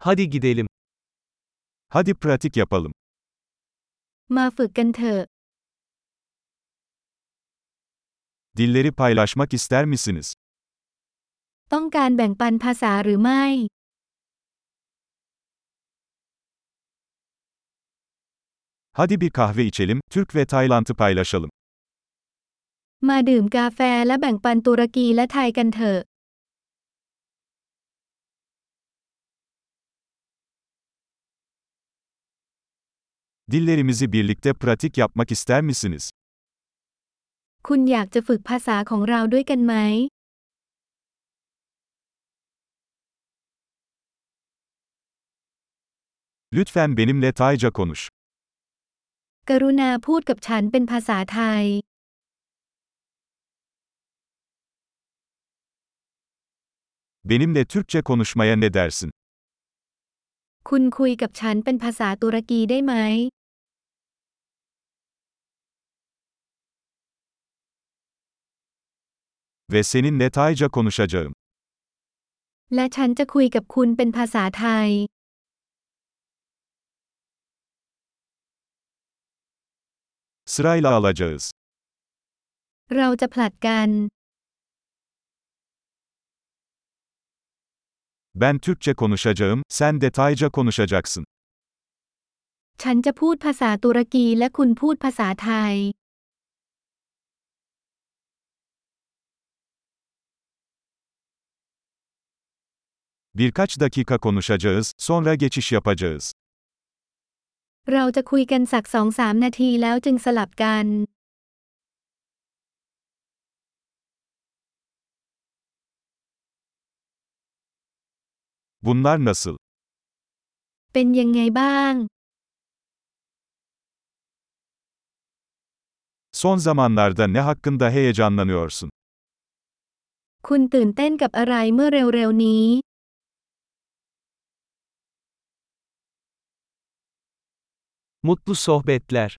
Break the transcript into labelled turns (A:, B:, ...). A: Hadi gidelim.
B: Hadi pratik yapalım.
C: มาฝึกกันเถอะ
B: Dilleri paylaşmak ister misiniz?
C: ต้องการแบ่งปันภาษาหรือไม่
B: Hadi bir kahve içelim, Türk ve Tayland'ı paylaşalım.
C: มาดื่มกาแฟและแบ่งปันตุรกีและไทยกันเถอะ
B: Dillerimizi birlikte pratik yapmak ister misiniz?
C: คุณอยากจะฝึกภาษาของเราด้วยกันไหม
B: Lütfen benimle Tayca konuş.
C: กรุณาพูดกับฉันเป็นภาษาไทย
B: Benimle Türkçe konuşmaya ne dersin?
C: คุณคุยกับฉันเป็นภาษาตุรกีได้ไหม
B: Ve seninle Tayca konuşacağım.
C: และฉันจะคุยกับคุณเป็นภาษาไทย
B: Sırayla alacağız.
C: เราจะผลัดกัน
B: Ben Türkçe konuşacağım, sen de Tayca konuşacaksın.
C: ฉันจะพูดภาษาตุรกีและคุณพูดภาษาไทย
B: Birkaç dakika konuşacağız, sonra geçiş yapacağız.
C: เราจะคุยกันสักสองสามนาทีแล้วจึงสลับกัน
B: Bunlar nasıl?
C: เป็นยังไงบ้าง
B: Son zamanlarda ne hakkında heyecanlanıyorsun?
C: คุณตื่นเต้นกับอะไรเมื่อเร็วๆนี้
A: Mutlu sohbetler.